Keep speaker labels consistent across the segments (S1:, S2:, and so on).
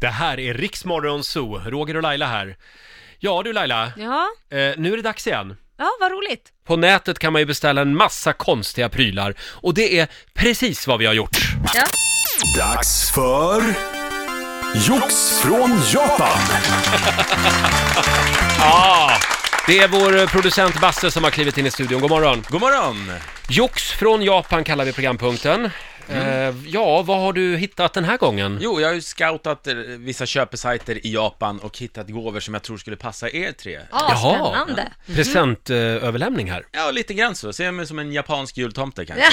S1: Det här är Riksmorgon Zoo, Roger och Laila här. Ja du Laila,
S2: Ja,
S1: eh, nu är det dags igen.
S2: ja vad roligt.
S1: På nätet kan man ju beställa en massa konstiga prylar och det är precis vad vi har gjort.
S2: Ja.
S3: Dags för Jox från Japan.
S1: Det är vår eh, producent Basse som har klivit in i studion. God morgon!
S4: God morgon!
S1: Jox från Japan kallar vi programpunkten. Eh, ja, vad har du hittat den här gången?
S4: Jo, jag har ju scoutat eh, vissa köpesajter i Japan och hittat gåvor som jag tror skulle passa er tre.
S2: Ja, spännande.
S1: Presentöverlämning här.
S4: Ja, lite grann så. Ser jag mig som en japansk jultomte kanske.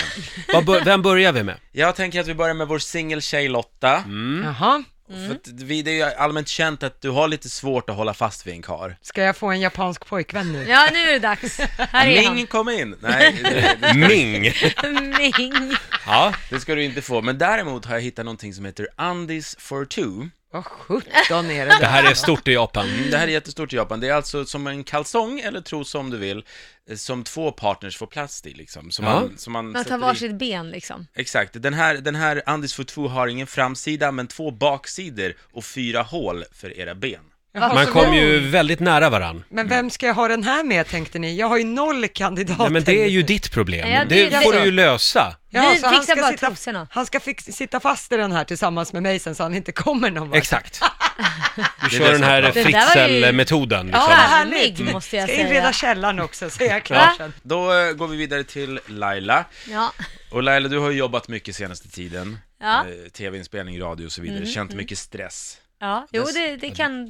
S1: Vad bör- vem börjar vi med?
S4: Jag tänker att vi börjar med vår singeltjej Lotta.
S5: Jaha,
S4: För att vi, det är ju allmänt känt att du har lite svårt att hålla fast vid en kar.
S5: ska jag få en japansk pojkvän nu?
S2: Ja, nu är det dags. Här är
S4: Ming, kom in! Nej, det,
S1: Ming!
S2: han. Ming.
S1: Ja,
S4: det ska du inte få. Men däremot har jag hittat någonting som heter Undies for two. Mm,
S5: Vad sjutton är det
S1: det
S5: där?
S1: här är stort i Japan.
S4: Det här är jättestort i Japan. Det är alltså som en kalsong, eller trosa om du vill, eh, som två partners får plats i liksom. Som
S1: Ja.
S4: man, som man
S2: Man tar
S4: sätter i-
S2: varsitt ben liksom.
S4: Exakt, den här, den här Andis for two har ingen framsida men två baksidor och fyra hål för era ben.
S5: Jaha,
S1: Man
S5: så
S1: kom
S5: vem-
S1: ju väldigt nära varann.
S5: Men vem ska jag ha den här med tänkte ni? Jag har ju noll kandidater.
S1: Nej, men det är ju ditt problem.
S2: Ja, det är
S1: det får
S2: det.
S1: du ju lösa.
S5: Ja,
S2: Vi
S5: så han
S2: fixar
S5: ska,
S2: bara
S5: sitta,
S2: trosorna.
S5: han ska fix, sitta fast i den här tillsammans med mig sen så han inte kommer någon vart.
S1: Exakt. Du
S4: Det är
S1: kör
S4: det
S1: den
S4: som är
S1: här
S4: bra.
S2: Det där var ju-
S1: fritzelmetoden.
S5: Ja,
S1: Liksom.
S5: vad
S2: Charmig,
S5: härligt.
S2: måste jag
S5: ska
S2: säga.
S5: inreda källaren också så är jag klar
S2: Va?
S5: sen.
S4: Då eh, går vi vidare till Laila.
S2: Ja.
S4: Och Laila, du har ju jobbat mycket senaste tiden.
S2: Ja. Mm-hmm,
S4: Eh, Tv-inspelning, radio och så vidare. Känt mycket stress.
S2: ja, jo det, det kan...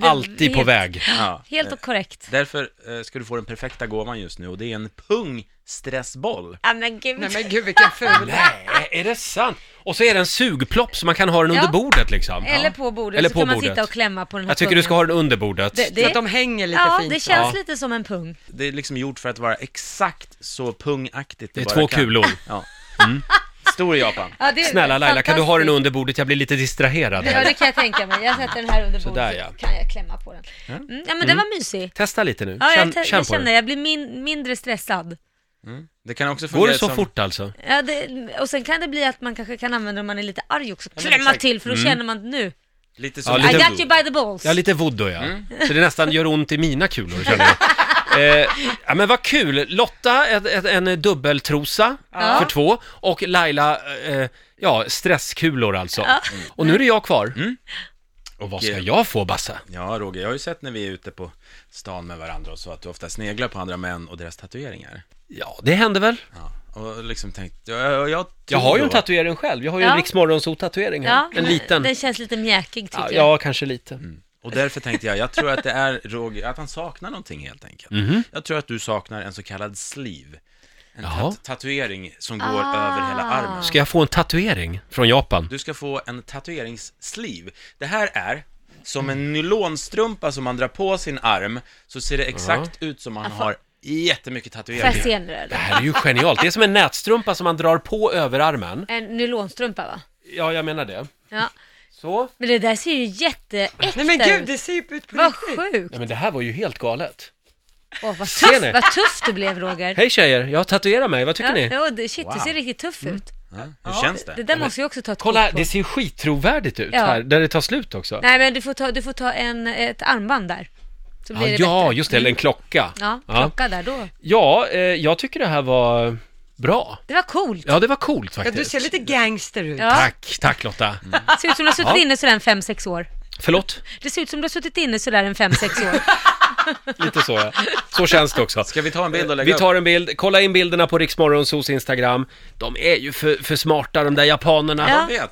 S2: Det,
S1: Alltid på
S2: helt-
S1: väg.
S4: Ja.
S2: Helt
S4: Eh,
S2: och korrekt.
S4: Därför eh, ska du få den perfekta gåvan just nu och det är en pungstressboll.
S2: Ja, men gud.
S5: Nej men gud vilken ful.
S1: Nej, är det sant? Och så är det en sugplopp så man kan ha den under
S2: Ja.
S1: bordet liksom.
S2: Eller på bordet,
S1: Eller
S2: så
S1: på
S2: kan man
S1: bordet.
S2: sitta och klämma på den här
S1: Jag tycker du ska
S2: pungen.
S1: ha den under bordet.
S2: Det-
S5: Så att de hänger lite
S2: ja,
S5: fint.
S2: det
S1: Ja.
S2: känns lite som en pung.
S4: Det är liksom gjort för att vara exakt så pungaktigt
S1: Det är
S4: bara
S1: två
S4: kan.
S1: kulor.
S4: Ja. Mm. Stor i Japan.
S2: Ja, det är
S1: Snälla Laila, kan du ha den
S2: fantastiskt.
S1: under bordet? Jag blir lite distraherad
S2: Ja,
S1: här.
S2: det kan jag tänka mig. Jag sätter den här under bordet,
S1: Sådär,
S2: så
S1: ja.
S2: kan jag klämma på den. Mm, ja, men den var mysig.
S1: Testa lite nu.
S2: Ja,
S1: Känn,
S2: jag,
S1: känn
S2: jag
S1: på
S2: känner,
S1: den.
S2: jag blir min, mindre stressad.
S4: Det kan också fungera
S1: Går det så
S4: som...
S1: fort alltså?
S2: Ja, det, och sen kan det bli att man kanske kan använda det om man är lite arg också,
S4: men
S2: klämma
S4: exakt.
S2: till för då känner man nu,
S4: Lite som...
S1: Ja,
S2: I
S1: Mm. lite-
S2: got you by the balls.
S1: Ja, lite voodoo ja. Så det nästan gör ont i mina kulor känner jag. Eh, ja men vad kul! Lotta, ett, ett, en dubbeltrosa
S2: Ja.
S1: för två och Laila, eh, ja stresskulor alltså. Och nu är det jag kvar. Och vad ska jag få Basse?
S4: Ja, Roger, jag har ju sett när vi är ute på stan med varandra och så att du ofta sneglar på andra män och deras tatueringar.
S1: Ja, det händer väl.
S4: Ja. Och liksom tänkt, jag, jag, jag,
S1: Jag
S4: tror
S1: har ju en
S4: då-
S1: tatuering själv. Jag har ju
S2: Ja.
S1: en Rix tatuering här.
S2: Ja,
S1: en liten.
S2: Den känns lite mjäkig tycker
S1: ja,
S2: jag.
S1: ja, kanske lite.
S4: Och därför tänkte jag, jag tror att det är Roger, att han saknar någonting helt enkelt.
S1: Mhm.
S4: Jag tror att du saknar en så kallad sleeve. En
S1: Jaha.
S4: tat- tatuering som går över hela
S2: Ah.
S4: armen.
S1: Ska jag få en tatuering från Japan?
S4: Du ska få en tatueringssleeve. Det här är som en nylonstrumpa som man drar på sin arm, så ser det exakt ut som man har jättemycket
S2: Får jag
S4: tatueringar.
S2: se nu
S1: Det
S2: eller?
S1: här är ju genialt. Det är som en nätstrumpa som man drar på överarmen.
S2: En nylonstrumpa va?
S1: Ja, jag menar det.
S2: Ja.
S1: Så.
S2: Men det där ser ju jätteäkta
S5: Nej men gud
S2: ut.
S5: det ser ju ut på
S2: Vad
S5: riktigt.
S2: sjukt!
S1: Nej, men det här var ju helt galet.
S2: Åh, vad,
S1: Ser ni?
S2: tuff, vad tuff du blev Roger.
S1: Hej tjejer, jag tatuerar mig. Vad tycker
S2: Ja,
S1: ni? Mm.
S2: ja, det- shit, du
S4: Wow.
S2: ser riktigt tuff ut.
S4: Ja, hur känns
S2: Det
S4: det?
S2: där måste jag också ta ett
S1: Kolla,
S2: kort på.
S1: det ser ju skittrovärdigt ut
S2: Ja.
S1: här, där det tar slut också.
S2: Nej men du får ta, du får ta en, ett armband där. Så blir
S1: Ah,
S2: det
S1: ja,
S2: bättre. Mm.
S1: just det, eller en klocka.
S2: Ja,
S1: ja.
S2: klocka där då.
S1: ja eh, jag tycker det här var bra.
S2: Det var coolt.
S1: Ja, det var coolt
S5: Ja,
S1: faktiskt.
S5: du ser lite gangster ut.
S2: Ja.
S1: Tack, tack Lotta.
S2: Ser ut som du har suttit inne sådär en fem sex år.
S1: Förlåt?
S2: Det ser ut som du har suttit inne sådär en fem sex år.
S1: Lite så ja. Så känns det också.
S4: Ska vi ta en bild och lägga
S1: Vi
S4: upp?
S1: tar en bild, kolla in bilderna på Riksmorgonsos Instagram. De är ju för, för smarta de där japanerna.
S2: Ja.
S4: vet.